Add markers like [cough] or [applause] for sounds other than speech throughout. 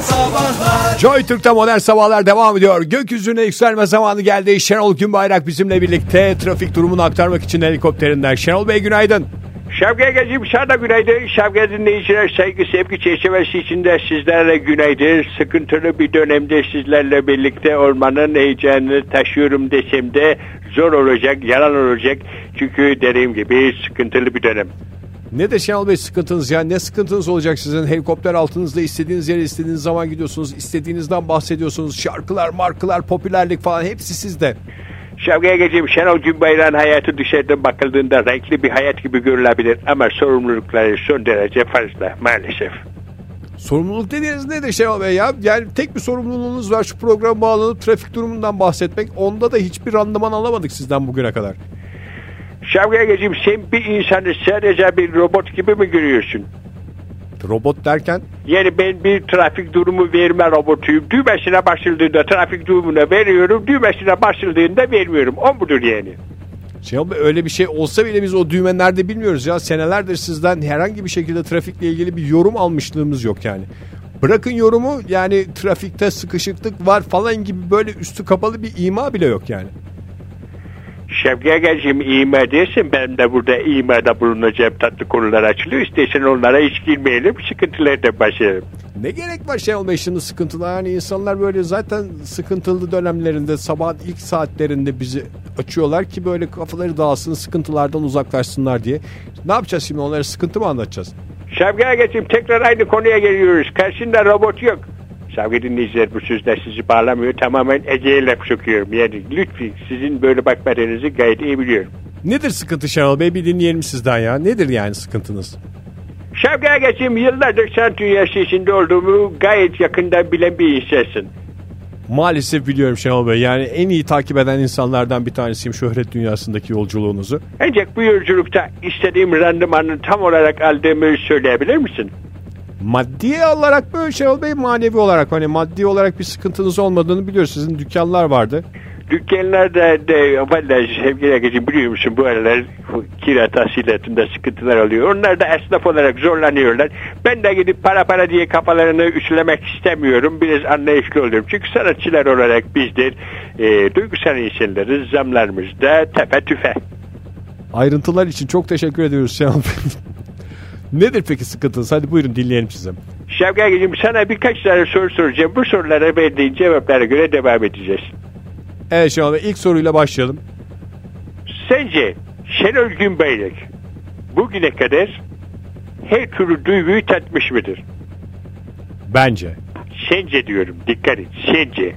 Sabahlar Joy Türk'te modern sabahlar devam ediyor. Gökyüzüne yükselme zamanı geldi. Şenol Günbayrak bizimle birlikte trafik durumunu aktarmak için helikopterinden. Şenol Bey günaydın. Şevket Gezim sana da günaydın. Şevket dinleyiciler saygı sevgi çerçevesi içinde sizlerle günaydın. Sıkıntılı bir dönemde sizlerle birlikte olmanın heyecanını taşıyorum desem de zor olacak, yalan olacak. Çünkü dediğim gibi sıkıntılı bir dönem. Ne de Şenol Bey sıkıntınız ya ne sıkıntınız olacak sizin helikopter altınızda istediğiniz yere istediğiniz zaman gidiyorsunuz istediğinizden bahsediyorsunuz şarkılar markılar popülerlik falan hepsi sizde. Şevket Gezim Şenol Günbayrak'ın hayatı dışarıda bakıldığında renkli bir hayat gibi görülebilir ama sorumlulukları son derece fazla maalesef. Sorumluluk dediğiniz nedir Şenol Bey ya? Yani tek bir sorumluluğunuz var şu programa bağlanıp trafik durumundan bahsetmek. Onda da hiçbir randıman alamadık sizden bugüne kadar. Şevket Gezim sen bir insanı sadece bir robot gibi mi görüyorsun? Robot derken Yani ben bir trafik durumu verme robotuyum. Düğmesine basıldığında trafik durumuna veriyorum. Düğmesine basıldığında vermiyorum. O mudur yani? Şenol Bey öyle bir şey olsa bile biz o düğme nerede bilmiyoruz ya. Senelerdir sizden herhangi bir şekilde trafikle ilgili bir yorum almışlığımız yok yani. Bırakın yorumu yani trafikte sıkışıklık var falan gibi böyle üstü kapalı bir ima bile yok yani. Şevkegeciğim iğme değilsin. Ben de burada iğmede bulunacağım tatlı konular açılıyor. İstersen onlara hiç girmeyelim. Sıkıntıları da başlayalım. Ne gerek var Şenol Bey şimdi sıkıntılı yani insanlar böyle zaten sıkıntılı dönemlerinde sabah ilk saatlerinde bizi açıyorlar ki böyle kafaları dağılsın sıkıntılardan uzaklaşsınlar diye. Ne yapacağız şimdi onlara sıkıntı mı anlatacağız? Şevkegeciğim tekrar aynı konuya geliyoruz. Karşında robot yok. Sevgili dinleyiciler bu sözler sizi bağlamıyor. Tamamen Ege'ye laf sokuyorum. Yani lütfen sizin böyle bakmadığınızı gayet iyi biliyorum. Nedir sıkıntı Şenol Bey bir dinleyelim sizden ya nedir yani sıkıntınız? Şevket geçim yıllardır sanat dünyası içinde olduğumu gayet yakından bilen bir insansın. Maalesef biliyorum Şenol Bey. Yani en iyi takip eden insanlardan bir tanesiyim şöhret dünyasındaki yolculuğunuzu. Ancak bu yolculukta istediğim randımanı tam olarak aldığımı söyleyebilir misin? Maddi olarak mı Şenol Bey manevi olarak hani maddi olarak bir sıkıntınız olmadığını biliyoruz. Sizin dükkanlar vardı. Dükkanlarda de vallahi sevgili geçim biliyor musun bu aralar kira tahsilatında sıkıntılar oluyor. Onlar da esnaf olarak zorlanıyorlar. Ben de gidip para para diye kafalarını üçlemek istemiyorum. Biraz anlayışlı oluyorum. Çünkü sanatçılar olarak bizdir. E, duygusal insanlarız. Zamlarımız da tepe tüfe. Ayrıntılar için çok teşekkür ediyoruz Şenol Bey. [laughs] Nedir peki sıkıntınız? Hadi buyurun dinleyelim size. Şevkacığım sana birkaç tane soru soracağım. Bu sorulara verdiğin cevaplara göre devam edeceğiz. Evet Şenol Bey ilk soruyla başlayalım. Sence Şenol Günbayrak bugüne kadar her türlü duyguyu tatmış mıdır? Bence. Sence diyorum dikkat et sence.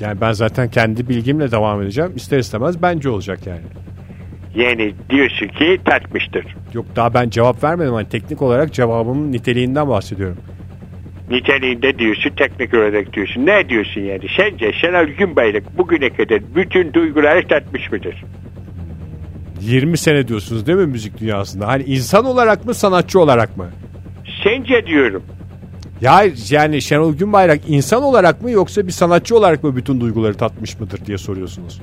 Yani ben zaten kendi bilgimle devam edeceğim. İster istemez bence olacak yani. Yani diyorsun ki tatmıştır. Yok daha ben cevap vermedim. Hani teknik olarak cevabımın niteliğinden bahsediyorum. Niteliğinde diyorsun teknik olarak diyorsun. Ne diyorsun yani? Sence Şenol Günbayrak bugüne kadar bütün duyguları tatmış mıdır? 20 sene diyorsunuz değil mi müzik dünyasında? Hani insan olarak mı sanatçı olarak mı? Sence diyorum. Ya hayır, yani Şenol Günbayrak insan olarak mı yoksa bir sanatçı olarak mı bütün duyguları tatmış mıdır diye soruyorsunuz.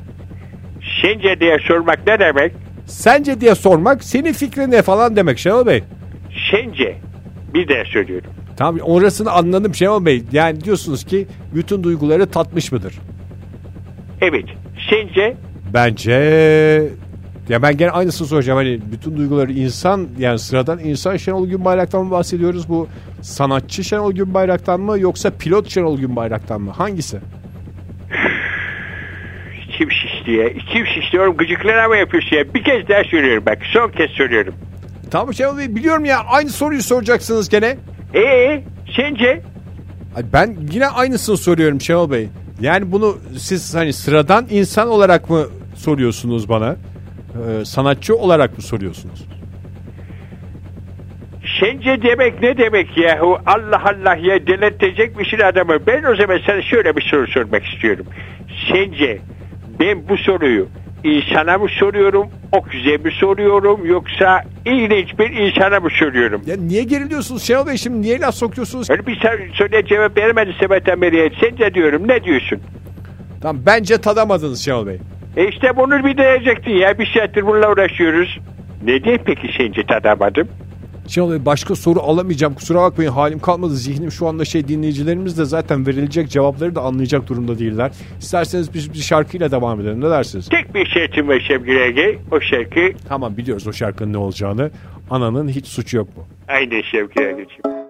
Sence diye sormak ne demek? Sence diye sormak senin fikrin ne falan demek Şenol Bey. Sence. Bir de söylüyorum. Tamam orasını anladım Şenol Bey. Yani diyorsunuz ki bütün duyguları tatmış mıdır? Evet. Sence Bence ya ben gene aynısını soracağım. Hani bütün duyguları insan yani sıradan insan Şenol Günbayrak'tan mı bahsediyoruz? Bu sanatçı Şenol Günbayrak'tan mı yoksa pilot Şenol Günbayrak'tan mı? Hangisi? içim şişti ya. İçim şişti oğlum gıcıklara mı yapıyorsun ya? Bir kez daha söylüyorum bak. Son kez söylüyorum. Tamam Şenol Bey biliyorum ya aynı soruyu soracaksınız gene. Ee sence? Ay Ben yine aynısını soruyorum Şenol Bey. Yani bunu siz hani sıradan insan olarak mı soruyorsunuz bana? Ee, sanatçı olarak mı soruyorsunuz? Sence demek ne demek yahu? Allah Allah ya delirtecekmişsin adamı. Ben o zaman sana şöyle bir soru sormak istiyorum. Sence ben bu soruyu insana mı soruyorum, oküze mi soruyorum yoksa ilginç bir insana mı soruyorum? Ya niye geriliyorsunuz Şenol Bey şimdi niye laf sokuyorsunuz? Öyle bir sor- soruya cevap veremedin Sebahattin Bey'e. Sence diyorum ne diyorsun? Tamam bence tadamadınız Şenol Bey. E işte bunu bir diyecektin ya. Bir saattir bununla uğraşıyoruz. Ne diye peki sence tadamadım? Şey oluyor, başka soru alamayacağım kusura bakmayın halim kalmadı zihnim şu anda şey dinleyicilerimiz de zaten verilecek cevapları da anlayacak durumda değiller. İsterseniz biz bir şarkıyla devam edelim ne dersiniz? Tek bir şarkım var Şevki Ege. O şarkı Tamam biliyoruz o şarkının ne olacağını. Ananın hiç suçu yok mu? aynı Şevki Ege'ciğim.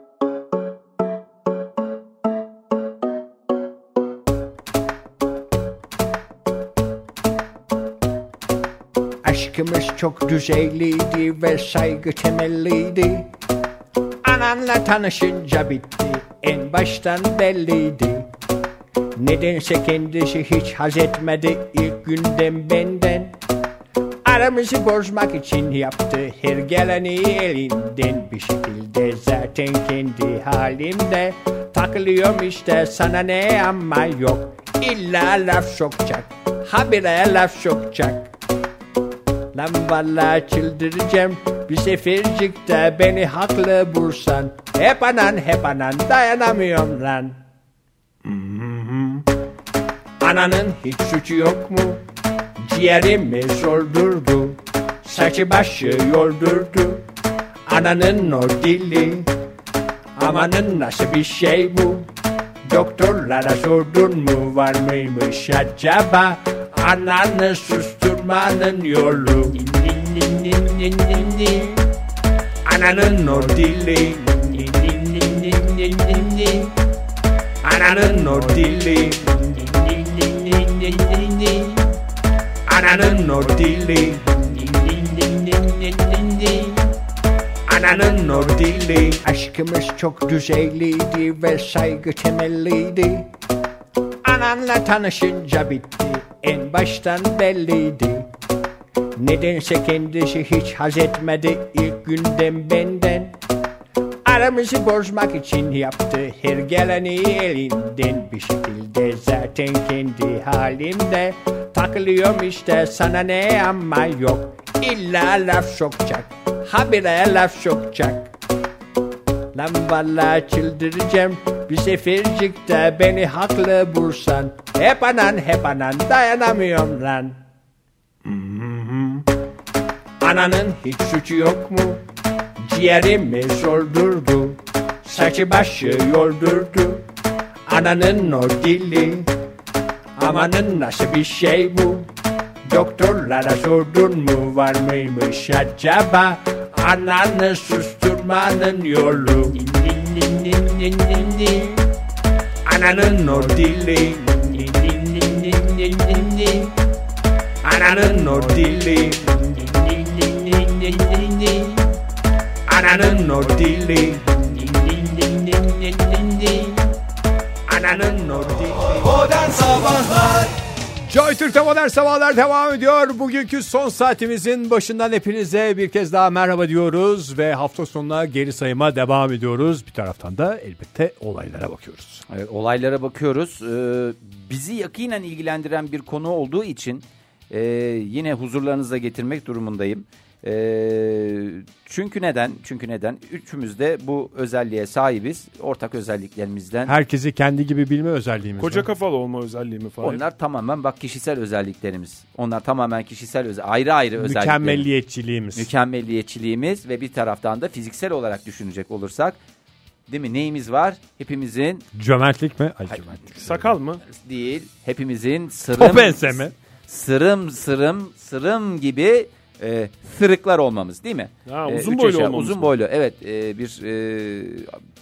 Aşkımız çok düzeyliydi ve saygı temelliydi. Ananla tanışınca bitti, en baştan belliydi. Nedense kendisi hiç haz etmedi ilk günden benden. Aramızı bozmak için yaptı her geleni elinden bir şekilde zaten kendi halimde takılıyorum işte sana ne ama yok illa laf sokacak habire laf sokacak Lan valla çıldıracağım Bir sefercikte beni haklı bulsan Hep anan hep anan dayanamıyorum lan Ananın hiç suçu yok mu? Ciğerimi soldurdu Saçı başı yoldurdu Ananın o dili Amanın nasıl bir şey bu? Doktorlara sordun mu var mıymış acaba? Ananı susturmanın yolu Ananın o dili Ananın o dili Ananın o dili Ananın o dili Aşkımız çok düzeyliydi ve saygı temelliydi Ananla tanışınca bitti en baştan belliydi Nedense kendisi hiç haz etmedi ilk günden benden Aramızı bozmak için yaptı her geleni elinden bir şekilde Zaten kendi halimde takılıyorum işte sana ne ama yok illa laf sokacak habire laf sokacak Lan valla çıldıracağım Bir sefercikte beni haklı bulsan Hep anan hep anan dayanamıyorum lan Ananın hiç suçu yok mu? Ciğerimi soldurdu Saçı başı yoldurdu Ananın o dili Amanın nasıl bir şey bu? Doktorlara sordun mu var mıymış acaba? Ananı susturmanın yolu Ananın o dili Ananın o dili Ananın o dili Ananın o dili 아, Joy Türk'te modern sabahlar devam ediyor. Bugünkü son saatimizin başından hepinize bir kez daha merhaba diyoruz ve hafta sonuna geri sayıma devam ediyoruz. Bir taraftan da elbette olaylara bakıyoruz. Evet, olaylara bakıyoruz. Ee, bizi yakinen ilgilendiren bir konu olduğu için e, yine huzurlarınıza getirmek durumundayım. E, çünkü neden? Çünkü neden? Üçümüz de bu özelliğe sahibiz. Ortak özelliklerimizden. Herkesi kendi gibi bilme özelliğimiz Koca var. kafalı olma özelliği mi falan? Onlar tamamen bak kişisel özelliklerimiz. Onlar tamamen kişisel özel, ayrı ayrı özelliklerimiz. Mükemmelliyetçiliğimiz. Mükemmelliyetçiliğimiz ve bir taraftan da fiziksel olarak düşünecek olursak değil mi? Neyimiz var? Hepimizin Cömertlik mi? Ay, cömertlik. Sakal mı? değil, hepimizin sırrım O benzeme. sırım sırım sırım gibi e, sırıklar olmamız değil mi? Ha, E, uzun üç boylu yaşa- olmamız Uzun mı? boylu evet e, bir e,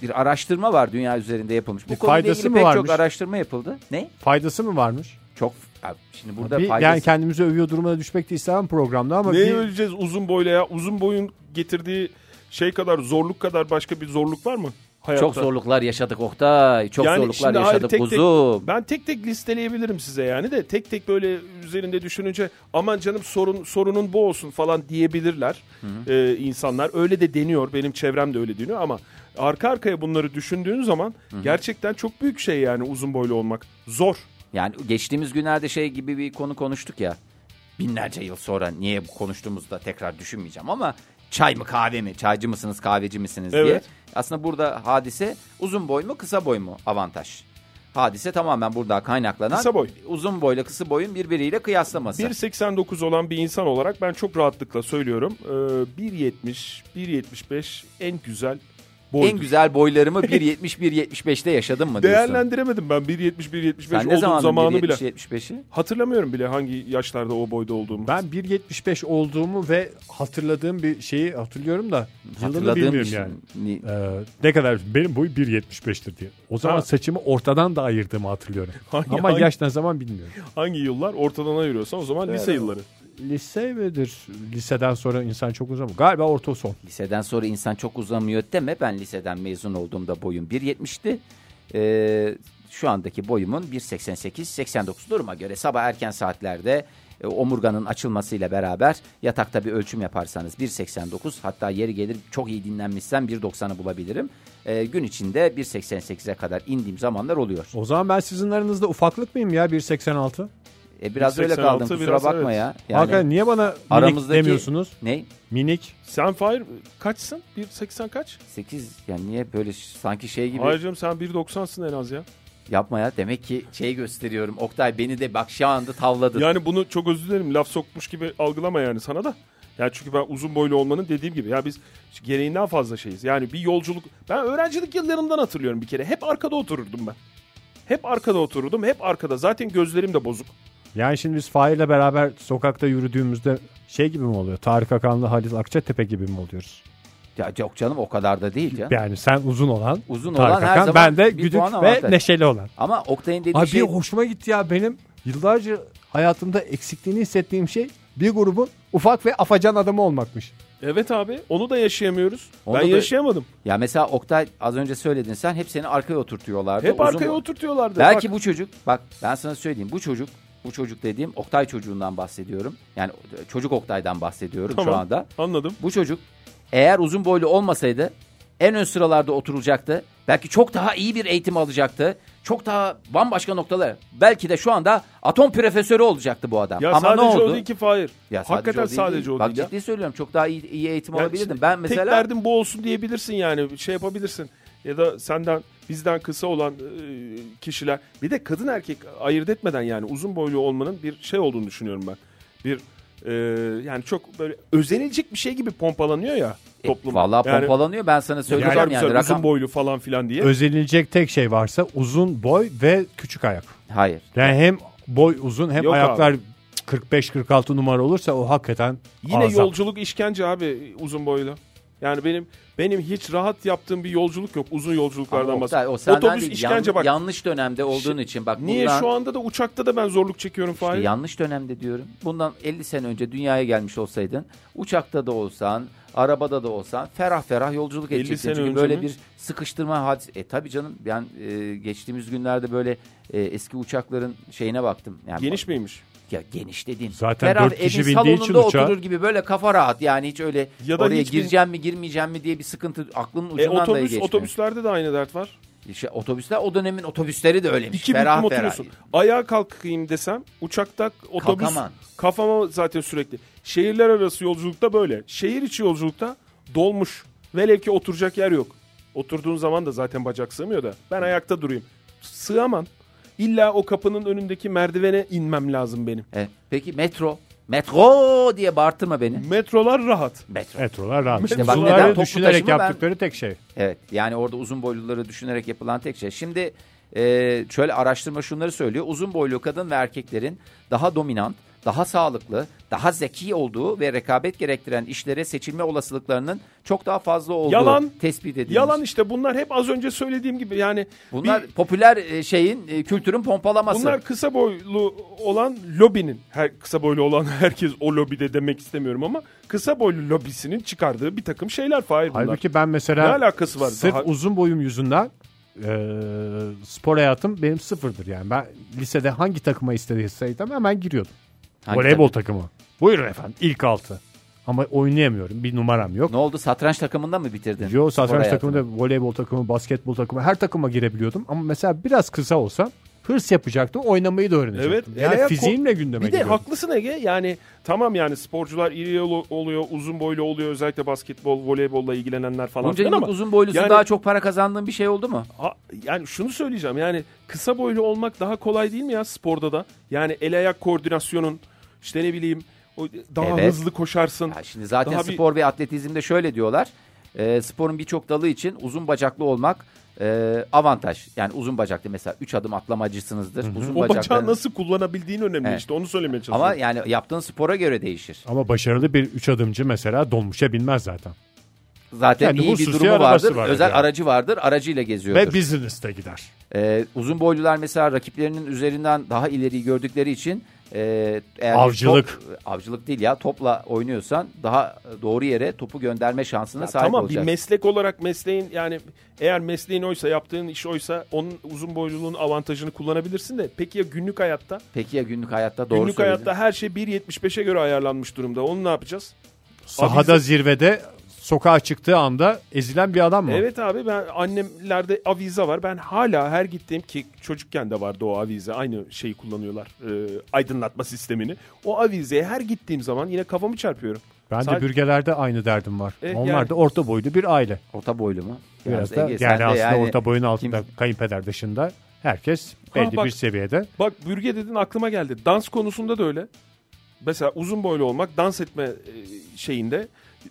bir araştırma var dünya üzerinde yapılmış. Bu Bir konuyla faydası ilgili mı pek varmış? çok araştırma yapıldı. Ne? Faydası mı varmış? Çok abi şimdi burada Bir- faydası. yani kendimizi övüyor durumuna düşmek de istemem programda ama Neye bir- öleceğiz uzun boyla ya? Uzun boyun getirdiği şey kadar zorluk kadar başka bir zorluk var mı? Hayatta? çok zorluklar yaşadık Oktay. Çok Yani zorluklar şimdi hayır, yaşadık tek tek- kuzum. Ben tek tek listeleyebilirim size yani de tek tek böyle üzerinde düşününce aman canım sorun sorunun bu olsun falan diyebilirler e, insanlar. Öyle de deniyor benim çevrem de öyle deniyor ama arka arkaya bunları düşündüğün zaman gerçekten çok büyük şey yani uzun boylu olmak. Zor. Yani geçtiğimiz günlerde şey gibi bir konu konuştuk ya. Binlerce yıl sonra niye bu konuştuğumuzda tekrar düşünmeyeceğim ama çay mı kahve mi? Çaycı mısınız kahveci misiniz diye. Evet. Aslında burada hadise uzun boy mu kısa boy mu avantaj? Hadise tamamen burada kaynaklanan Kısa boy. uzun boyla kısa boyun birbiriyle kıyaslaması. 1.89 olan bir insan olarak ben çok rahatlıkla söylüyorum. Ee, 1.70, 1.75 en güzel boydur. en güzel [laughs] boylarımı 1.70-1.75'te yaşadım mı diyorsun? Değerlendiremedim ben 1.70, 1.75 Sen ne olduğum zaman zamanı bile. 1.70-1.75'i? Hatırlamıyorum bile hangi yaşlarda o boyda olduğumu. Ben 1.75 olduğumu ve hatırladığım bir şeyi hatırlıyorum da yılını Hatırladığım şey. bilmiyorum için. yani. Ni- Ee, ne kadar benim boyu 1.75'tir diye. O zaman Ha. saçımı ortadan da ayırdığımı hatırlıyorum. [laughs] Hangi- Ama hangi- yaş ne zaman bilmiyorum. Hangi yıllar? Ortadan ayırıyorsan o zaman lise yılları. Lise midir? Liseden sonra insan çok uzamıyor. Galiba orta son. Liseden sonra insan çok uzamıyor deme. Ben liseden mezun olduğumda boyum 1.70'ti. Ee, şu andaki boyumun 1.88-89 duruma göre sabah erken saatlerde e, omurganın açılmasıyla beraber yatakta bir ölçüm yaparsanız 1.89 hatta yeri gelir çok iyi dinlenmişsem 1.90'ı bulabilirim. Ee, gün içinde 1.88'e kadar indiğim zamanlar oluyor. O zaman ben sizin aranızda ufaklık mıyım ya 1.86? E, biraz öyle kaldım 1.86 kusura biraz, bakma evet. ya. Yani Hakan niye bana minik aramızdaki- demiyorsunuz? Ne? Minik. Sen Fahir kaçsın? 1.80 kaç? 8 yani niye böyle ş- sanki şey gibi Hayır canım sen 1.90'sın en az ya. Yapma ya demek ki şey gösteriyorum. Oktay beni de bak şu anda tavladın. Yani bunu çok özür dilerim laf sokmuş gibi algılama yani sana da. Ya çünkü ben uzun boylu olmanın dediğim gibi ya biz gereğinden fazla şeyiz. Yani bir yolculuk ben öğrencilik yıllarımdan hatırlıyorum bir kere. Hep arkada otururdum ben. Hep arkada otururdum, hep arkada. Zaten gözlerim de bozuk. Yani şimdi biz Fahir'le beraber sokakta yürüdüğümüzde şey gibi mi oluyor? Tarık Akan'la Halis Akçatepe gibi mi oluyoruz? Ya yok canım o kadar da değil ya. Yani sen uzun olan, Uzun Tarık olan her Akan, zaman ben de bir güdük puan ve avantaj. neşeli olan. Ama Oktay'ın dediği Abi şey hoşuma gitti ya benim yıllarca hayatımda eksikliğini hissettiğim şey bir grubun ufak ve afacan adamı olmakmış. Evet abi, onu da yaşayamıyoruz. Onu ben da- yaşayamadım. ya mesela Oktay az önce söyledin sen hep seni arkaya oturtuyorlardı. Hep Uzun- arkaya oturtuyorlardı. Belki Bak, bu çocuk bak ben sana söyleyeyim bu çocuk bu çocuk dediğim Oktay çocuğundan bahsediyorum. Yani çocuk Oktay'dan bahsediyorum şu Tamam. anda. anladım. Bu çocuk eğer uzun boylu olmasaydı en ön sıralarda oturulacaktı. Belki çok daha iyi bir eğitim alacaktı. Çok daha bambaşka noktalar. Belki de şu anda atom profesörü olacaktı bu adam. Ya Ama sadece ne oldu? o değil ki Fahir. Ya Hakikaten değil, değil. sadece o Bak değil. ya. ciddi söylüyorum çok daha iyi, iyi eğitim Yani alabilirdim. işte Ben mesela Tek derdim bu olsun diyebilirsin yani şey yapabilirsin. Ya da senden bizden kısa olan e, kişiler bir de kadın erkek ayırt etmeden yani uzun boylu olmanın bir şey olduğunu düşünüyorum ben. Bir e, yani çok böyle özenilecek bir şey gibi pompalanıyor ya toplum. E, Vallahi yani, pompalanıyor ben sana ne kadar söylüyorum yani, güzel, rakam. uzun boylu falan filan diye. Özenilecek tek şey varsa uzun boy ve küçük ayak. Hayır. Yani hem boy uzun hem Yok ayaklar 45-46 numara olursa o hakikaten Yine azap. yolculuk işkence abi uzun boylu. Yani benim benim hiç rahat yaptığım bir yolculuk yok uzun yolculuklardan Ama Oktay, o bahsediyorum. senden Otobüs değil, işkence yan- bak. Yanlış dönemde olduğun için bak Niye bundan- şu anda da uçakta da ben zorluk çekiyorum Fahir? E, yanlış dönemde diyorum. Bundan 50 sene önce dünyaya gelmiş olsaydın, uçakta da olsan, arabada da olsan ferah ferah yolculuk 50 edeceksin. sene Çünkü önce böyle mi? bir sıkıştırma hadis. E tabii canım ben e, geçtiğimiz günlerde böyle e, eski uçakların şeyine baktım. Yani Geniş miymiş? Ya geniş dediğim. Zaten ferah dört kişi evin bindiği için salonunda uçağa- oturur gibi böyle kafa rahat. Yani hiç öyle Ya da oraya hiç bin- gireceğim mi girmeyeceğim mi diye bir sıkıntı aklının ucundan E, da otobüs geçmiyor. otobüslerde de aynı dert var. İşte otobüsler o dönemin otobüsleri de öyleymiş. İki ferah büklüm ferah. oturuyorsun. Ayağa kalkayım desem uçakta otobüs Kalkamam. kafama zaten sürekli. Şehirler arası yolculukta böyle. Şehir içi yolculukta dolmuş. Velev ki oturacak yer yok. Oturduğun zaman da zaten bacak sığmıyor da. Ben ayakta durayım. Sığamam. İlla o kapının önündeki merdivene inmem lazım benim. E, peki metro. Metro diye bağırtma beni. Metrolar rahat. Metro. Metrolar rahat. İşte İşte bak neden toplu düşünerek taşıma ben- yaptıkları tek şey. Evet yani orada uzun boyluları düşünerek yapılan tek şey. Şimdi e, şöyle araştırma şunları söylüyor. Uzun boylu kadın ve erkeklerin daha dominant, daha sağlıklı, daha zeki olduğu ve rekabet gerektiren işlere seçilme olasılıklarının çok daha fazla olduğu Yalan. tespit edilmiş. Yalan işte bunlar hep az önce söylediğim gibi yani Bunlar bir- popüler e, şeyin e, kültürün pompalaması. Bunlar kısa boylu olan lobinin, her kısa boylu olan [laughs] herkes o lobide demek istemiyorum ama kısa boylu lobisinin çıkardığı bir takım şeyler Fahir bunlar. Halbuki ben mesela Ne alakası var? sırf Daha- uzun boyum yüzünden e, spor hayatım benim sıfırdır yani. Ben lisede hangi takıma istediyseydim hemen giriyordum. Hangi Voleybol takımı. Buyurun efendim ilk altı. Ama oynayamıyorum bir numaram yok. Ne oldu? Satranç takımında mı bitirdin? Yo spor satranç hayatını? takımında voleybol takımı, basketbol takımı her takıma girebiliyordum. Ama mesela biraz kısa olsam hırs yapacaktım, oynamayı da öğrenecektim. Evet, Yani ele- fiziğimle gündeme Bir de geliyorum. haklısın Ege. Yani tamam yani sporcular iri yolu- oluyor, uzun boylu oluyor. Özellikle basketbol, voleybolla ilgilenenler falan Bunca filan ama. yıllık uzun boylusu yani- daha çok para kazandığın bir şey oldu mu? Ha- yani şunu söyleyeceğim. Yani kısa boylu olmak daha kolay değil mi ya sporda da? Yani el ayak koordinasyonun işte ne bileyim o daha Evet. hızlı koşarsın. Ya şimdi zaten Daha bir- spor ve atletizmde şöyle diyorlar. E, sporun birçok dalı için uzun bacaklı olmak e, avantaj. Yani uzun bacaklı mesela 3 adım atlamacısınızdır. Uzun O bacağı bacaklarınız- nasıl kullanabildiğin önemli Evet. işte onu söylemeye çalışıyorum. Ama yani yaptığın spora göre değişir. Ama başarılı bir üç adımcı mesela dolmuşa binmez zaten. Zaten Yani iyi bir hususi durumu arabası vardır. vardır özel yani. aracı vardır. Aracıyla geziyordur. Ve business'te gider. Ee, uzun boylular mesela rakiplerinin üzerinden daha ileriyi gördükleri için e, eğer bir Avcılık. top- e, avcılık değil ya topla oynuyorsan daha doğru yere topu gönderme şansına sahip tamam olacaksın. bir meslek olarak mesleğin yani eğer mesleğin oysa yaptığın iş oysa onun uzun boyluluğun avantajını kullanabilirsin de peki ya günlük hayatta? Peki ya günlük hayatta doğru günlük söyledin. hayatta her şey 1.75'e göre ayarlanmış durumda. Onu ne yapacağız? Sahada zirvede sokağa çıktığı anda ezilen bir adam mı? Evet abi ben annemlerde avize var. Ben hala her gittiğim ki çocukken de vardı o avize. Aynı şeyi kullanıyorlar. e, aydınlatma sistemini. O avizeye her gittiğim zaman yine kafamı çarpıyorum. Ben de Sadece- bürgelerde aynı derdim var. Evet, Onlar yani- da orta boylu bir aile. Orta boylu mu? Biraz Yalnız da Ege, sen yani de aslında yani- orta boyun altında kim- kayınpeder dışında herkes belli Ah, bak- bir seviyede. Bak bürge dedin aklıma geldi. Dans konusunda da öyle. Mesela uzun boylu olmak dans etme e, şeyinde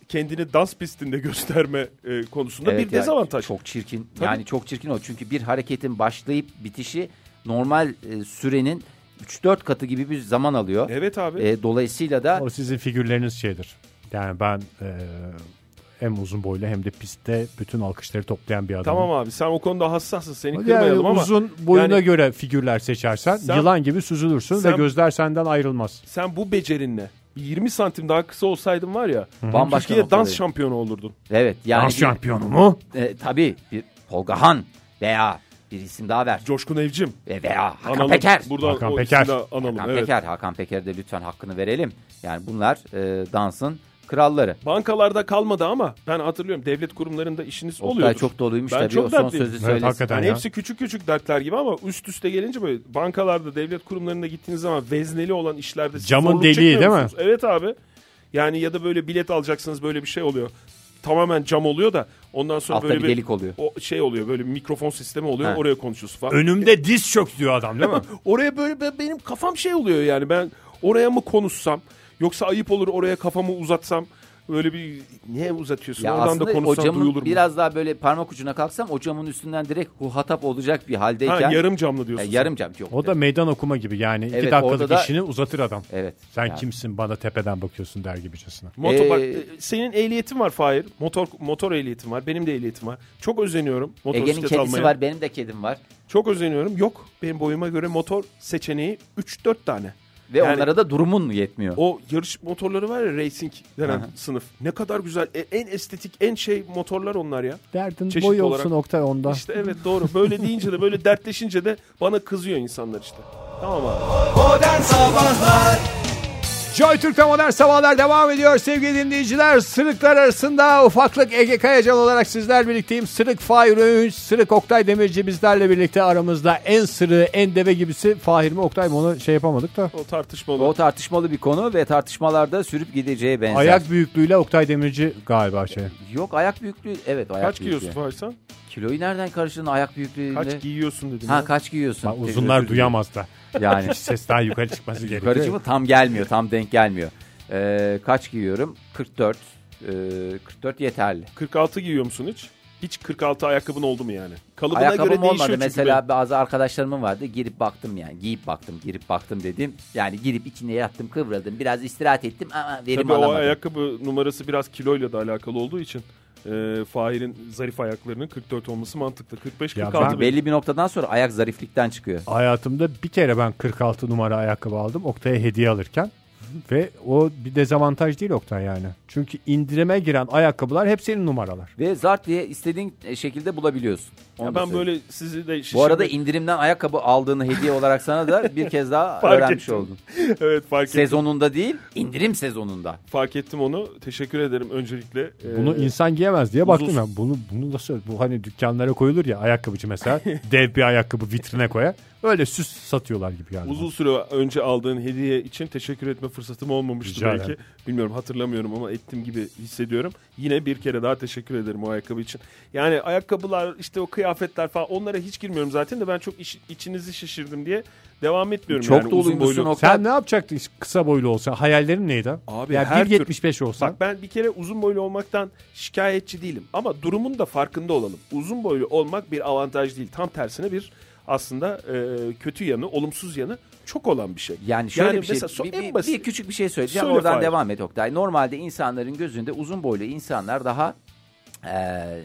kendini dans pistinde [laughs] gösterme e, konusunda Evet bir ya, dezavantaj. Çok çirkin. Tabii. Yani çok çirkin o. Çünkü bir hareketin başlayıp bitişi normal e, sürenin 3-4 katı gibi bir zaman alıyor. Evet abi. E, dolayısıyla da O sizin figürleriniz şeydir. Yani ben e, hem uzun boylu hem de pistte bütün alkışları toplayan bir adamım. Tamam abi sen o konuda hassassın seni Yani kırmayalım ama uzun boyuna yani- göre figürler seçersen Sen- yılan gibi süzülürsün ve Sen- gözler senden ayrılmaz. sen bu becerinle bir 20 santim daha kısa olsaydın var ya Bambaşka Türkiye dans noktadayım. şampiyonu olurdun. evet yani Dans bir- şampiyonu mu? e, tabii bir Tolga Han veya bir isim daha ver. Coşkun Evcim. E, veya Hakan Analım. Peker. Buradan Hakan o Peker. isimle analım. Hakan evet. Peker, Hakan Peker de lütfen hakkını verelim. Yani bunlar e, dansın kralları. Bankalarda kalmadı ama ben hatırlıyorum devlet kurumlarında işiniz oluyor. Oktay çok doluymuş Ben tabii çok o son dertliyim. sözü Evet, söylesin. hakikaten. Yani ya. hepsi küçük küçük dertler gibi ama üst üste gelince böyle bankalarda, devlet kurumlarında gittiğiniz zaman vezneli olan işlerde siz Camın zorluk deliği çekmiyor değil mi? musunuz? Evet abi. Yani ya da böyle bilet alacaksınız böyle bir şey oluyor. Tamamen cam oluyor da ondan sonra Altta böyle bir delik oluyor. O şey oluyor böyle bir mikrofon sistemi oluyor Ha. oraya konuşuyorsun falan. Önümde diz çök diyor adam değil mi? Oraya böyle be- benim kafam şey oluyor yani ben oraya mı konuşsam yoksa ayıp olur oraya kafamı uzatsam böyle bir niye uzatıyorsun Ya oradan da aslında o konuşsam duyulur camın mu? biraz daha böyle parmak ucuna kalksam o camın üstünden direkt huhatap olacak bir haldeyken. ha, yarım camlı diyorsun. Yani sen. yarım cam yok. O da meydan okuma gibi yani iki Evet, dakikalık orada da- işini uzatır adam. Evet. Sen Yani. kimsin bana tepeden bakıyorsun der gibicesine. Motor Ee, bak e, senin ehliyetin var Fahir. Motor motor ehliyetin var. Benim de ehliyetim var. Çok özeniyorum Ege'nin motosiklet kedisi almaya. var, benim de kedim var Çok özeniyorum. Yok. Benim boyuma göre motor seçeneği 3-4 tane. ve Yani- onlara da durumun yetmiyor. O yarış motorları var ya racing denen sınıf. Ne kadar güzel. E, en estetik, en şey motorlar onlar ya. Derdin Çeşitli boy olarak- olsun Oktay onda. İşte evet doğru. Böyle deyince de böyle dertleşince de bana kızıyor insanlar işte. Tamam abi. Joy Türk'te modern sabahlar devam ediyor sevgili dinleyiciler. Sırıklar arasında ufaklık Ege Kayacan olarak sizler birlikteyim. Sırık Fahir Öğünç, Sırık Oktay Demirci bizlerle birlikte aramızda en sırığı, en deve gibisi Fahir mi Oktay mı onu şey yapamadık da. O tartışmalı. O tartışmalı bir konu ve tartışmalarda sürüp gideceği benzer. Ayak büyüklüğüyle Oktay Demirci galiba şey. Yok ayak büyüklüğü. Evet ayak Kaç büyüklüğü. giyiyorsun Fahir sen? Kiloyu nereden karşıladın ayak büyüklüğünde? Kaç giyiyorsun dedim. Ha ya. kaç giyiyorsun? Bak uzunlar Özür dilerim. duyamaz da. [laughs] Yani Ses daha yukarı çıkması gerekiyor. yukarıcı mı? Tam gelmiyor. Tam denk gelmiyor. Ee, kaç giyiyorum? 44. Ee, 44 yeterli. 46 giyiyor musun hiç? Hiç 46 ayakkabın oldu mu yani? Kalıbına göre Ayakkabım değişiyor olmadı. çünkü Mesela bazı arkadaşlarımın vardı. Girip baktım yani. Giyip baktım. Girip baktım dediğim. Yani girip içine yattım kıvradım. Biraz istirahat ettim ama verim Tabii o alamadım. ayakkabı numarası biraz kiloyla da alakalı olduğu için e, Fahir'in zarif ayaklarının 44 olması mantıklı. 45 Ya 46 ben- benim. Belli bir noktadan sonra ayak zariflikten çıkıyor. Hayatımda bir kere ben 46 numara ayakkabı aldım Oktay'a hediye alırken. Ve o bir dezavantaj değil Oktay yani. Çünkü indirime giren ayakkabılar hep senin numaralar. Ve zart diye istediğin şekilde bulabiliyorsun. Onu Ya da ben söyleyeyim. böyle sizi de şişirmek- Bu arada indirimden ayakkabı aldığını hediye olarak sana da bir kez daha [laughs] Fark öğrenmiş ettim. oldun. [laughs] evet fark ettim, Sezonunda değil, indirim sezonunda. fark ettim onu. Teşekkür ederim öncelikle. E, Bunu insan giyemez diye baktım uzun- [laughs] ben. Bunu, bunu nasıl bu hani dükkanlara koyulur ya ayakkabıcı mesela. dev bir ayakkabı vitrine koyar. Öyle süs satıyorlar gibi yani. Uzun süre önce aldığın hediye için teşekkür etme fırsatım olmamıştı Rica belki. ederim. Bilmiyorum hatırlamıyorum ama ettim gibi hissediyorum. Yine bir kere daha teşekkür ederim o ayakkabı için. Yani ayakkabılar işte o kıyafetler falan onlara hiç girmiyorum zaten de ben çok iş- içinizi şişirdim diye devam etmiyorum. Çok yani uzun doluymuşsun boylu. Oktay. Sen ne yapacaktın kısa boylu olsa? Hayallerin neydi? Abi ya her 1.75 olsan. Bak ben bir kere uzun boylu olmaktan şikayetçi değilim. Ama durumun da farkında olalım. Uzun boylu olmak bir avantaj değil. Tam tersine bir aslında e, kötü yanı, olumsuz yanı çok olan bir şey. Yani şöyle bir şey, mesela so- bir, en bir- basit- bir küçük bir şey söyleyeceğim Söyle oradan Fahir. devam et Oktay. Normalde insanların gözünde uzun boylu insanlar daha eee,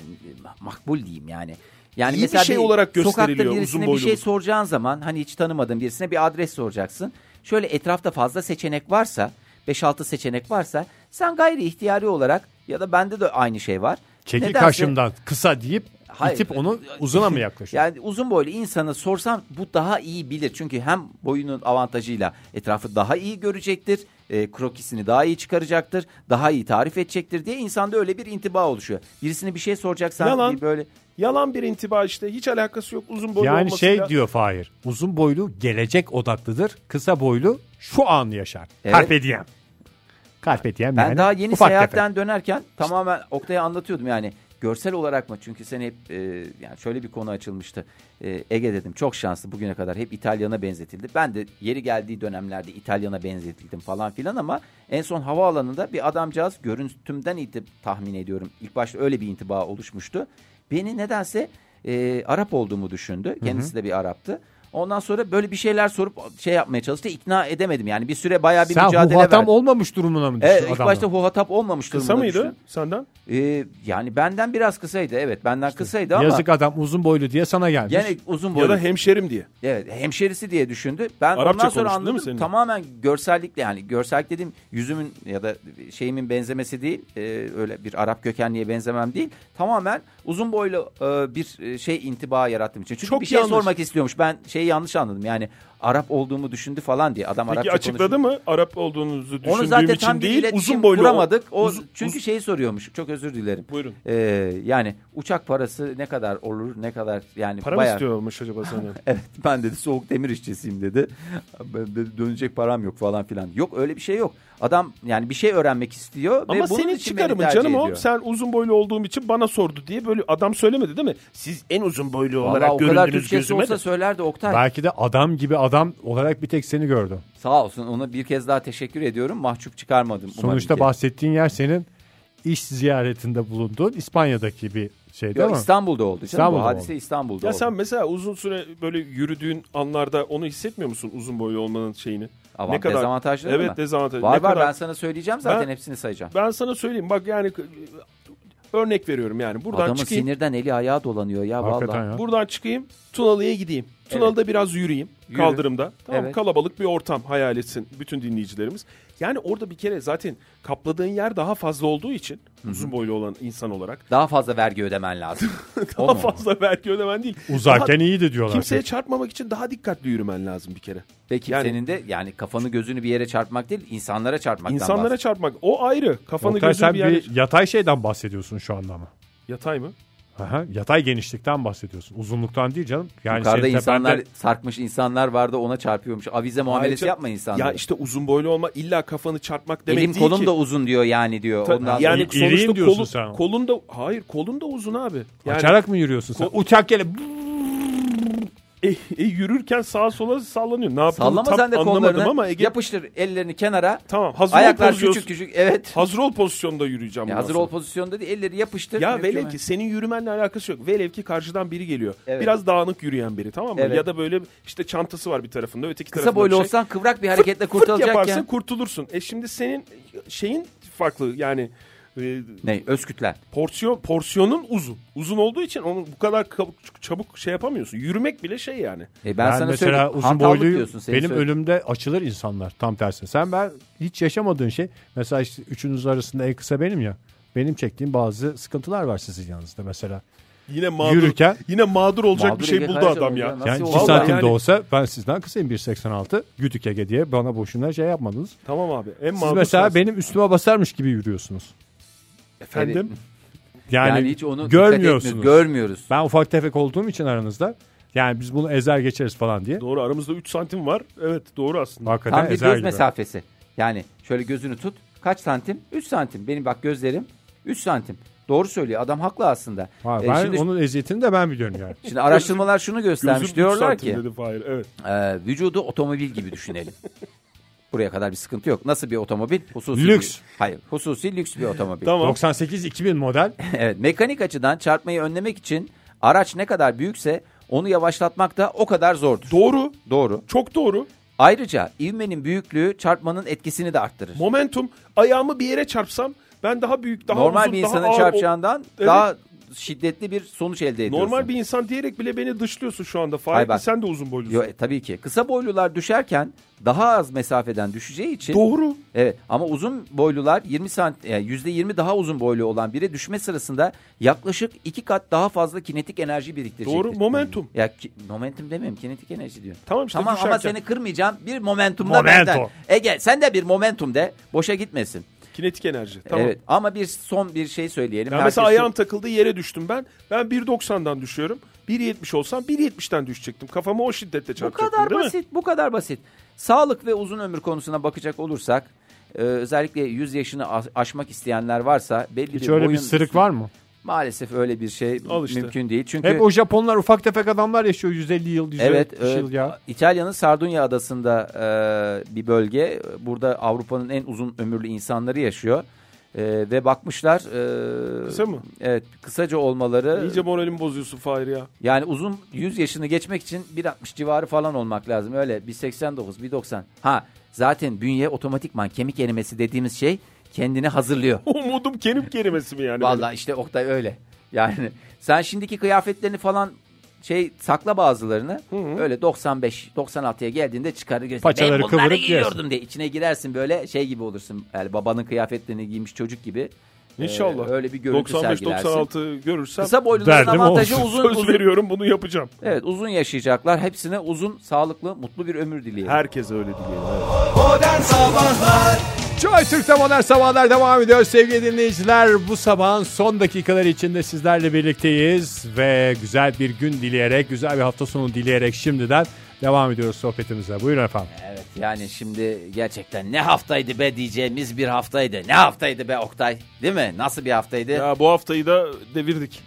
makbul diyeyim yani. Yani İyi bir şey olarak gösteriliyor sokakta uzun birisine bir şey boyluluk. soracağın zaman hani hiç tanımadığın birisine bir adres soracaksın. Şöyle etrafta fazla seçenek varsa 5-6 seçenek varsa sen gayri ihtiyari olarak ya da bende de aynı şey var. Çekil Nedense- karşımdan kısa deyip Hayır. itip onu uzuna mı yaklaşıyor? Yani uzun boylu insana sorsam bu daha iyi bilir. Çünkü hem boyunun avantajıyla etrafı daha iyi görecektir. e, krokisini daha iyi çıkaracaktır. Daha iyi tarif edecektir diye insanda öyle bir intiba oluşuyor. Birisine bir şey soracaksan Yalan. bir böyle Yalan bir intiba işte. Hiç alakası yok uzun boylu Yani şey olmasıyla. diyor Fahir. Uzun boylu gelecek odaklıdır. Kısa boylu şu an yaşar. Evet. Carpe diem. Carpe diem ben yani daha yeni ufak seyahatten tefek. dönerken tamamen Oktay'a anlatıyordum yani görsel olarak mı? Çünkü sen hep e, yani şöyle bir konu açılmıştı. E, Ege dedim çok şanslı bugüne kadar hep İtalyana benzetildi. Ben de yeri geldiği dönemlerde İtalyana benzetildim falan filan ama en son havaalanında bir adamcağız görüntümden itip tahmin ediyorum. İlk başta öyle bir intiba oluşmuştu. Beni nedense e, Arap olduğumu düşündü. Kendisi de bir Arap'tı. Ondan sonra böyle bir şeyler sorup şey yapmaya çalıştı. İkna edemedim yani. Bir süre bayağı bir Sen mücadele huhatam verdim. olmamış durumuna mı düştün Evet, Ee, ilk adamla? başta huhatap olmamış Kısa durumuna mıydı düştüm. senden? Ee, yani benden biraz kısaydı evet benden kısaydı ama Yazık adam uzun boylu diye sana gelmiş. gene uzun Ya boylu. da hemşerim diye. evet hemşerisi diye düşündü. Ben Arapça ondan sonra konuştu değil mi anladım seninle? tamamen görsellikle yani görsellik dediğim yüzümün ya da şeyimin benzemesi değil e, öyle bir Arap kökenliye benzemem değil. Tamamen uzun boylu e, bir e, şey intiba yarattığım için. Çünkü Çok bir şey yanlış. sormak istiyormuş ben şeyi yanlış anladım yani Arap olduğumu düşündü falan diye adam Peki Arapça açıkladı konuşuyor. mı Arap olduğunuzu düşündüğüm Onu zaten için tam bir değil iletişim uzun boylu kuramadık. O, Uzun- çünkü şeyi soruyormuş. Çok özür dilerim. Buyurun. Ee, yani uçak parası ne kadar olur? Ne kadar yani Para mı bayağı. [laughs] istiyormuş acaba senden? Evet ben dedi soğuk demir işçisiyim dedi. Ben dedi, Dönecek param yok falan filan. Yok öyle bir şey yok. Adam yani bir şey öğrenmek istiyor. Ama ve bunun senin için beni çıkarımın tercih canım o. ediyor. Sen uzun boylu olduğum için bana sordu diye böyle adam söylemedi değil mi? Siz en uzun boylu Vallahi olarak o kadar göründünüz Türkçesi gözüme de. olsa söylerdi Oktay. Belki de adam gibi adam olarak bir tek seni gördü. Sağ olsun ona bir kez daha teşekkür ediyorum. Mahcup çıkarmadım. umarım Sonuçta ki. bahsettiğin yer senin iş ziyaretinde bulunduğun İspanya'daki bir şey değil Yok, mi? İstanbul'da oldu canım. İstanbul'da bu hadise oldu. İstanbul'da Ya oldu. sen mesela uzun süre böyle yürüdüğün anlarda onu hissetmiyor musun uzun boylu olmanın şeyini? Avant- dezavantajları Evet mı? dezavantajları. Var ne var kadar- ben sana söyleyeceğim zaten Ben- hepsini sayacağım. Ben sana söyleyeyim bak yani örnek veriyorum yani buradan Adamın çıkayım. sinirden eli ayağı dolanıyor ya Hakikaten vallahi. ya. Buradan çıkayım Tunalı'ya gideyim. Tunalı'da biraz yürüyeyim Yürü. kaldırımda. Tamam Evet. kalabalık bir ortam hayal etsin bütün dinleyicilerimiz. Yani orada bir kere zaten kapladığın yer daha fazla olduğu için uzun boylu olan insan olarak Daha fazla vergi ödemen lazım. O [laughs] daha mu? fazla vergi ödemen değil. Uzaktan Daha- iyiydi diyorlar. şey. Kimseye çarpmamak için daha dikkatli yürümen lazım bir kere. Ve kimsenin Yani- de yani kafanı gözünü bir yere çarpmak değil insanlara çarpmaktan İnsanlara bahsediyor. çarpmak o ayrı. Kafanı Oktay, gözünü sen bir bir yere... yatay şeyden bahsediyorsun şu anda ama. Yatay mı? Aha, yatay genişlikten bahsediyorsun. Uzunluktan değil canım. Yani şey, Yukarıda senin tepende- insanlar sarkmış insanlar vardı ona çarpıyormuş. Avize muamelesi Ayrıca- yapma insanlara. Ya işte uzun boylu olma illa kafanı çarpmak demek Elim değil kolum ki. da uzun diyor yani diyor. Ta- Ondan yani sonra- İ- iriyim sonuçta diyorsun kolun, sen. kolun da hayır kolun da uzun abi. Yani Açarak mı yürüyorsun sen? Ko- Uçak gelip e, e, yürürken sağa sola sallanıyor. Ne yaptığını sallama tam sen de anlamadım kollarını ama Ege yapıştır ellerini kenara. tamam hazır ol ayaklar pozisyonu- küçük küçük evet. hazır ol pozisyonda yürüyeceğim. Ya bundan hazır sonra. ol pozisyonda değil elleri yapıştır. Ya Mümkün velev mü? ki senin yürümenle alakası yok. Velev ki karşıdan biri geliyor. Evet. Biraz dağınık yürüyen biri tamam mı? Evet. Ya da böyle işte çantası var bir tarafında öteki Kısa tarafında boylu bir şey. olsan kıvrak bir hareketle kurtulacakken. yaparsa kurtulursun. E şimdi senin şeyin farklı yani e, Ne öz kütlen. porsiyon porsiyonun uzun. Uzun olduğu için onu bu kadar kabuk- çabuk şey yapamıyorsun. Yürümek bile şey yani. E ben, ben, sana mesela söyleyeyim. uzun hantallık boyluyum. diyorsun, seni Benim söyleyeyim. ölümde açılır insanlar tam tersine. Sen ben hiç yaşamadığın şey. Mesela işte üçünüz arasında en kısa benim ya. Benim çektiğim bazı sıkıntılar var sizin yanınızda mesela. Yine mağdur Yürürken- yine mağdur olacak Mağdur bir şey Ege buldu Kayacan adam oldu ya. ya. Nasıl Yani olur? iki Vallahi santim yani- de olsa ben sizden kısayım 1.86. Güdük Ege diye bana boşuna şey yapmadınız. Tamam abi. En Siz mağdur mesela sensin. benim üstüme basarmış gibi yürüyorsunuz. efendim Yani, hani Yani, hiç onu dikkat etmiyoruz, görmüyorsunuz. Görmüyoruz. Ben ufak tefek olduğum için aranızda Yani biz bunu ezer geçeriz falan diye. Doğru aramızda 3 santim var. Evet doğru aslında. Hakikaten Tam bir ezer göz gibi. mesafesi. Yani şöyle gözünü tut. Kaç santim? 3 santim. Benim bak gözlerim 3 santim. Doğru söylüyor. Adam haklı aslında. Ha, E, ben şimdi, onun eziyetini de ben biliyorum [laughs] yani. şimdi araştırmalar şunu Gözüm göstermiş. üç Diyorlar santim ki Dedi Fahir. Evet. e, vücudu otomobil gibi [laughs] düşünelim. Buraya kadar bir sıkıntı yok. Nasıl bir otomobil? Hususi Lüks. bir- hayır, hususi lüks bir otomobil. Tamam. [laughs] 98-2000 model. Evet, mekanik açıdan çarpmayı önlemek için araç ne kadar büyükse onu yavaşlatmak da o kadar zordur. Doğru. Doğru. Çok doğru. Ayrıca ivmenin büyüklüğü çarpmanın etkisini de arttırır. Momentum ayağımı bir yere çarpsam ben daha büyük, daha normal uzun, bir daha insanın ağır- çarpacağından Evet. daha şiddetli bir sonuç elde ediyorsun. Normal bir insan diyerek bile beni dışlıyorsun şu anda. Hayır, Fahir bak. sen de uzun boylusun. Yo, e, tabii ki. Kısa boylular düşerken daha az mesafeden düşeceği için Doğru. Evet ama uzun boylular 20 sant yani %20 daha uzun boylu olan biri düşme sırasında yaklaşık iki kat daha fazla kinetik enerji biriktirecektir. Doğru. Momentum. Ya ki- momentum demiyorum kinetik enerji diyorum. Tamam işte tamam ama düşerken. seni kırmayacağım bir momentum da Momento. benden. Ege sen de bir momentum de boşa gitmesin. Kinetik enerji. Tamam. Evet ama bir son bir şey söyleyelim. Yani mesela Herkes- ayağım takıldı yere düştüm ben. Ben 1.90'dan düşüyorum. 1.70 olsam 1.70'ten düşecektim. Kafama o şiddette Bu çarpacaktım kadar değil mi? basit, bu kadar basit. Sağlık ve uzun ömür konusuna bakacak olursak, e, özellikle 100 yaşını a- aşmak isteyenler varsa belli Hiç bir öyle bir boyun- sırık var mı? Maalesef öyle bir şey Al işte. mümkün değil. Çünkü Hep o Japonlar ufak tefek adamlar yaşıyor 150 yıl, 150 evet, şey e, yıl ya. İtalya'nın Sardunya adasında e, bir bölge. Burada Avrupa'nın en uzun ömürlü insanları yaşıyor. E, ve bakmışlar e, Kısa mı? Evet, kısaca olmaları İyice moralimi bozuyorsun Fahir ya. [laughs] yani uzun 100 yaşını geçmek için 1.60 civarı falan olmak lazım. Öyle 1.89, 1.90. Ha zaten bünye otomatikman kemik erimesi dediğimiz şey kendini hazırlıyor. Umudum kenip kerimesi mi yani? benim? Vallahi işte Oktay öyle. Yani [laughs] sen şimdiki kıyafetlerini falan şey sakla bazılarını. Öyle 95, 96'ya geldiğinde çıkarır göster. Paçaları ben bunları kıvırıp giyiyordum diye içine girersin böyle şey gibi olursun. Yani babanın kıyafetlerini giymiş çocuk gibi. İnşallah. Ee, öyle bir görüntü sergilersin. 95-96 görürsem Kısa boyluların Derdim avantajı olsun. uzun söz uzun veriyorum bunu yapacağım. Evet uzun yaşayacaklar. Hepsine uzun, sağlıklı, mutlu bir ömür dileyelim. Herkese öyle dileyelim. evet. Joy Türk'te modern sabahlar devam ediyor sevgili dinleyiciler. Bu sabahın son dakikaları içinde sizlerle birlikteyiz ve güzel bir gün dileyerek, güzel bir hafta sonu dileyerek şimdiden devam ediyoruz sohbetimize. Buyurun efendim. Evet yani şimdi gerçekten ne haftaydı be diyeceğimiz bir haftaydı. Ne haftaydı be Oktay değil mi? Nasıl bir haftaydı? Ya, Ya bu haftayı da devirdik.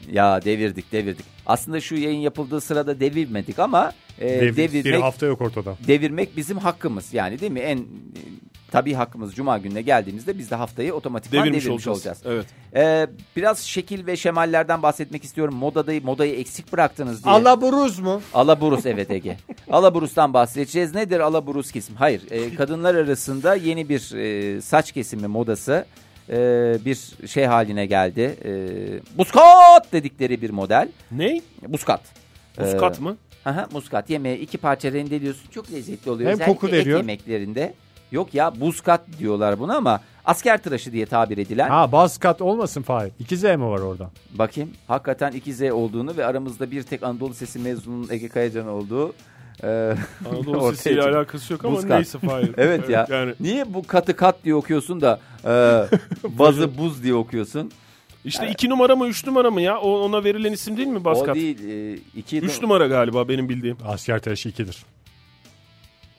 devirdik devirdik. Aslında şu yayın yapıldığı sırada devirmedik ama e, Devir- bir devirmek, hafta yok ortada. devirmek bizim hakkımız. Yani değil mi? En e, tabii hakkımız cuma gününe geldiğimizde biz de haftayı otomatikman Devirmiş devirmiş olacağız. olacağız. Evet. Ee, biraz şekil ve şemallerden bahsetmek istiyorum. Modadayı, modayı eksik bıraktınız diye. Alaburuz mu? Alaburus evet [laughs] Ege. Alaburus'tan bahsedeceğiz. Nedir Alaburus kesim? Hayır. e, [laughs] kadınlar arasında yeni bir e, saç kesimi modası e, bir şey haline geldi. E, buskat dedikleri bir model. Ne? Buskat. Muskat mı? Ee, aha, muskat yemeği iki parça rendeliyorsun. Çok lezzetli oluyor. Hem Özellikle koku et veriyor. yemeklerinde. Yok ya buskat diyorlar buna ama asker tıraşı diye tabir edilen. Ha baskat olmasın Fahir. 2Z mi var orada? Bakayım hakikaten 2Z olduğunu ve aramızda bir tek Anadolu Sesi mezununun Ege Kayacan olduğu. e, [laughs] [laughs] Anadolu ortaya sesiyle çıktı. alakası yok ama Muskat. neyse Fahir. [laughs] Evet ya. Yani Niye bu katı kat diye okuyorsun da [laughs] e, bazı buz diye okuyorsun? işte iki numara mı üç numara mı ya? O, ona verilen isim değil mi O Baskat? değil. E, iki Üç numara galiba benim bildiğim. Asker tıraşı 2'dir.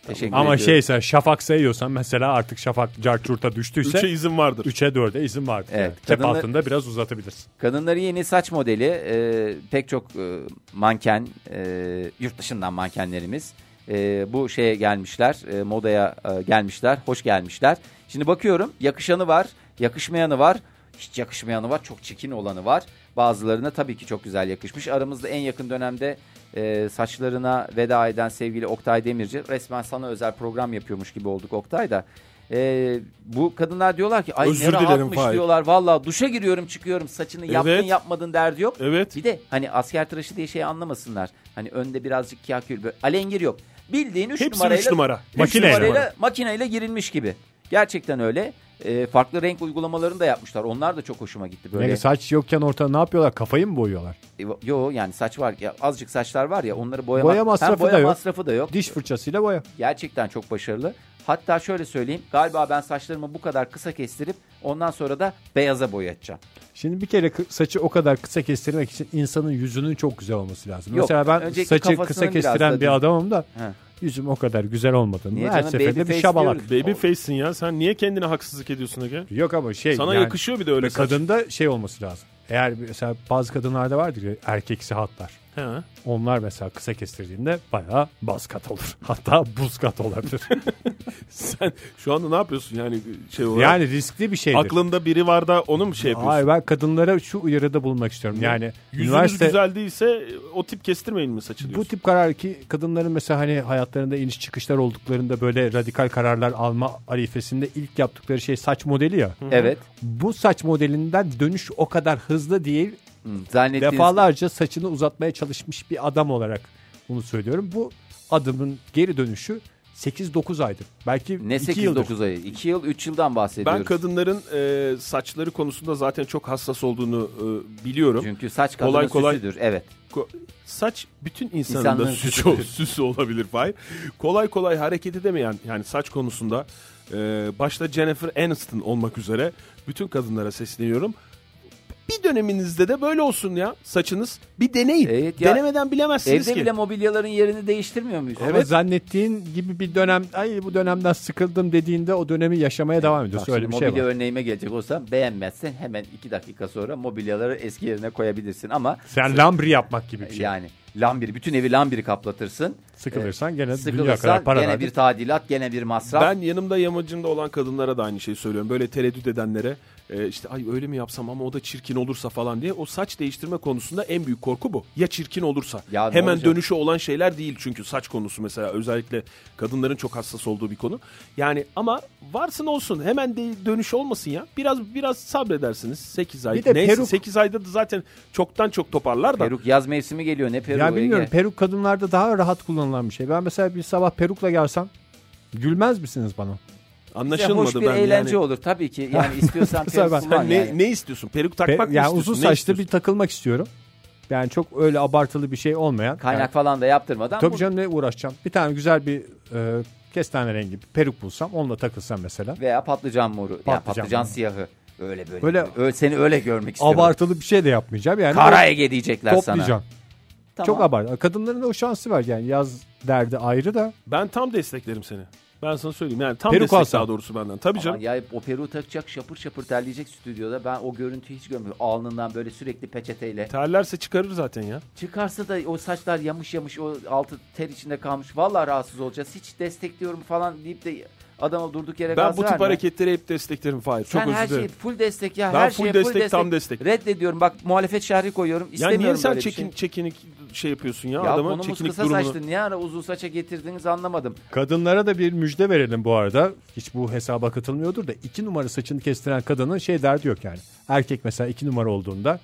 Teşekkür Ama şey, ediyorum. şeyse şafak sayıyorsan mesela artık şafak carçurta düştüyse Üçe izin vardır. 3'e 4'e izin vardır. Evet, Yani Tep kadınlar- altında biraz uzatabilirsin. Kadınların yeni saç modeli e, pek çok e, manken e, yurt dışından mankenlerimiz e, bu şeye gelmişler e, modaya e, gelmişler hoş gelmişler. Şimdi bakıyorum yakışanı var yakışmayanı var hiç yakışmayanı var çok çirkin olanı var. Bazılarına tabii ki çok güzel yakışmış. Aramızda en yakın dönemde e, saçlarına veda eden sevgili Oktay Demirci resmen sana özel program yapıyormuş gibi olduk Oktay da. E, bu kadınlar diyorlar ki ay Özür ne dilerim rahatmış Fahir. diyorlar. Vallahi duşa giriyorum çıkıyorum saçını yaptın Evet. yapmadın derdi yok. Evet. Bir de hani asker tıraşı diye şey anlamasınlar. Hani önde birazcık kakül böyle alengir yok. Bildiğin 3 Hepsi numarayla üç numara. üç Makineyle. numarayla makineyle girilmiş gibi. Gerçekten öyle. E, farklı renk uygulamalarını da yapmışlar. Onlar da çok hoşuma gitti. Böyle Yani saç yokken ortada ne yapıyorlar? Kafayı mı boyuyorlar? Yo yani saç var ya azıcık saçlar var ya onları boyama, Boya Hem masrafı boya da yok. masrafı da yok. Diş fırçasıyla boya. Gerçekten çok başarılı. Hatta şöyle söyleyeyim galiba ben saçlarımı bu kadar kısa kestirip ondan sonra da beyaza boyatacağım. Şimdi bir kere kı- saçı o kadar kısa kestirmek için insanın yüzünün çok güzel olması lazım. Yok, Mesela ben önceki saçı kafasının kısa biraz kestiren da bir değil. adamım da He. yüzüm o kadar güzel olmadığını Niye her canım? seferinde Baby bir face şabalak. diyoruz. Baby face'sin ya. Sen niye kendine haksızlık ediyorsun Ege? Yok ama şey Sana yani yakışıyor bir de öyle saç. kadında şey olması lazım. Eğer mesela bazı kadınlarda vardır ya erkeksi hatlar. He. [laughs] Onlar mesela kısa kestirdiğinde bayağı baz kat olur. [laughs] Hatta buz kat [laughs] olabilir. Sen şu anda ne yapıyorsun yani şey olarak? yani riskli bir şeydir. aklında biri var da onu mu şey yapıyorsun? Hayır ben kadınlara şu uyarıda bulunmak istiyorum. Yani Yüzünüz üniversite güzel değilse e, o tip kestirmeyin mi saçı Bu diyorsun? tip karar ki kadınların mesela hani hayatlarında iniş çıkışlar olduklarında böyle radikal kararlar alma arifesinde ilk yaptıkları şey saç modeli ya. Evet. Bu saç modelinden dönüş o kadar hızlı değil. Zannettiğiniz Defalarca saçını uzatmaya çalışmış bir adam olarak bunu söylüyorum. Bu adımın geri dönüşü 8-9 aydır. Belki ne 2 8 yıldır. 9 ayı? 2 yıl 3 yıldan bahsediyoruz. Ben kadınların e, saçları konusunda zaten çok hassas olduğunu e, biliyorum. çünkü saç kadının Kolay kolay- süsüdür. Evet. Ko- saç bütün insanın İnsanlığın da süsü, süsüdür. süsü olabilir Fahir. Kolay kolay hareket edemeyen yani saç konusunda e, başta Jennifer Aniston olmak üzere bütün kadınlara sesleniyorum. Bir döneminizde de böyle olsun ya saçınız. Bir deneyin. Evet ya. Denemeden bilemezsiniz Evde ki. bile mobilyaların yerini değiştirmiyor muyuz? Ama zannettiğin gibi bir dönem ay bu dönemden sıkıldım dediğinde o dönemi yaşamaya devam ediyorsun. Öyle bir şey mobilya var. örneğime gelecek olsam beğenmezsen hemen 2 dakika sonra mobilyaları eski yerine koyabilirsin ama Sen lambri yapmak gibi bir şey. yani lambiri bütün evi lambiri kaplatırsın. Sıkılırsan gene dünya kadar Sıkılırsan para gene verdin. bir tadilat, gene bir masraf. Ben yanımda yamacımda olan kadınlara da aynı şeyi söylüyorum. Böyle tereddüt edenlere e, işte ay öyle mi yapsam ama o da çirkin olursa falan diye. O saç değiştirme konusunda en büyük korku bu. Ya çirkin olursa. Ya ne Hemen olacak? dönüşü olan şeyler değil çünkü saç konusu mesela özellikle kadınların çok hassas olduğu bir konu. Yani ama varsın olsun hemen de dönüş olmasın ya. Biraz biraz sabredersiniz 8 ay. Bir de Neyse peruk- 8 ayda da zaten çoktan çok toparlar da. Peruk yaz mevsimi geliyor ne peruğu? Ya bilmiyorum Ege? peruk kadınlarda daha rahat kullanılan bir şey. Ben mesela bir sabah perukla gelsem gülmez misiniz bana? Bize Anlaşılmadı hoş bir ben eğlence yani. olur tabii [laughs] ki. Yani istiyorsan Mesela peruk ben- kullan Sen ne, yani. ne istiyorsun? Peruk Pe- takmak mı yani istiyorsun? uzun Ne saçlı istiyorsun? bir takılmak istiyorum. Yani çok öyle abartılı bir şey olmayan. Kaynak Yani, falan da yaptırmadan tabii bu- canım ne uğraşacağım? Bir tane güzel bir e, kestane rengi bir peruk bulsam onunla takılsam mesela. veya patlıcan moru, patlıcan, Patlıcan patlıcan moru. siyahı. Öyle böyle. Böyle- Ö- seni öyle görmek istiyorum. Abartılı bir şey de yapmayacağım. Yani Kara Ege diyecekler sana. toplayacağım. Tamam. Çok abartılı. Kadınların da o şansı var yani yaz derdi ayrı da. Ben tam desteklerim seni. Ben sana söyleyeyim. Yani tam Peruk destek alsam. daha doğrusu benden. Tabii Aman canım. ya o peruğu takacak şapır şapır terleyecek stüdyoda. Ben o görüntüyü hiç görmüyorum. Alnından böyle sürekli peçeteyle. Terlerse çıkarır zaten ya. Çıkarsa da o saçlar yamış yamış o altı ter içinde kalmış. Vallahi rahatsız olacağız. Hiç destekliyorum falan deyip de adama durduk yere Ben gaz bu tip verme. hareketleri hep desteklerim Fahir. Çok Sen özür her şeyi dilerim. full destek ya. Ben her full şeye destek, tam destek. Reddediyorum bak muhalefet şerhi koyuyorum. Ya İstemiyorum niye sen böyle çekin, bir şey. çekinik şey yapıyorsun ya, Ya adama konumuz çekinik kısa durumunu. saçlı. Niye ara uzun saça getirdiniz anlamadım. Kadınlara da bir müjde verelim bu arada. Hiç bu hesaba katılmıyordur da iki numara saçını kestiren kadının şey derdi yok yani. Erkek mesela iki numara olduğunda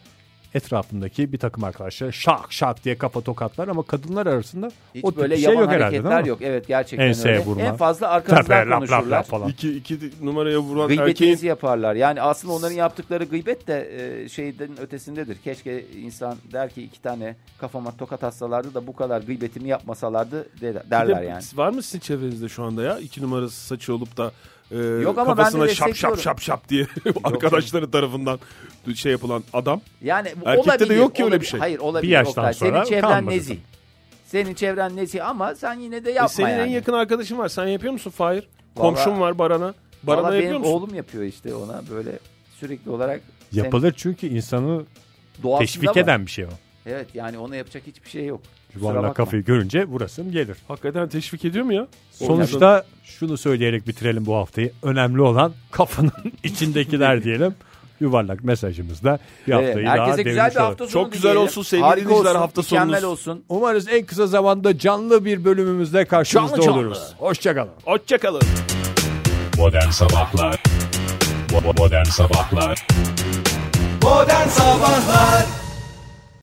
etrafındaki bir takım arkadaşlar şak şak diye kafa tokatlar ama kadınlar arasında Hiç o tip böyle bir şey yaman yok herhalde hareketler değil mi? yok. Evet gerçekten Enseye öyle. vurma. En fazla Tabii, arkanızdan laf, laf, konuşurlar. laf falan. İki, iki numaraya vuran erkeğin Gıybetinizi yaparlar. Yani aslında onların yaptıkları gıybet de e, şeyden ötesindedir. Keşke insan der ki iki tane kafama tokat atsalardı da bu kadar gıybetimi yapmasalardı de- Bir de derler yani. Var mı sizin çevrenizde şu anda ya? İki numarası saçı olup da e, Yok ama ben de kafasına şap şap destekliyorum. şap şap diye arkadaşları tarafından şey yapılan adam. Yani Erkekte de olabilir. yok ki öyle bir olabilir. şey. Hayır olabilir. Bir yaştan Oktay. sonra Senin çevren kalmadı. nezih. Senin çevren nezih ama sen yine de E, yapma senin yani. en yakın arkadaşın var. Sen yapıyor musun Fahir? Vallahi- Komşun var Baran'a. Valla Baran'a yapıyor benim musun? oğlum yapıyor işte ona böyle sürekli olarak. sen- Yapılır çünkü insanı doğasında teşvik var. eden bir şey o. Evet yani ona yapacak hiçbir şey yok. Kusura Yuvarlak bakma. kafayı görünce burasım gelir. Hakikaten teşvik ediyor mu ya? Sonuçta şunu söyleyerek bitirelim bu haftayı. Önemli olan kafanın [laughs] içindekiler diyelim. Yuvarlak mesajımızda bir Evet, haftayı daha Ee, herkese güzel devirmiş bir hafta olalım. sonu Çok güzel dileyelim. olsun sevgili Harika dinleyiciler, olsun, hafta Mükemmel sonunuz. olsun. Umarız en kısa zamanda canlı bir bölümümüzde karşınızda Canlı canlı. oluruz. Hoşçakalın. Hoşçakalın. Modern Sabahlar Bo- bo- Modern Sabahlar Modern Sabahlar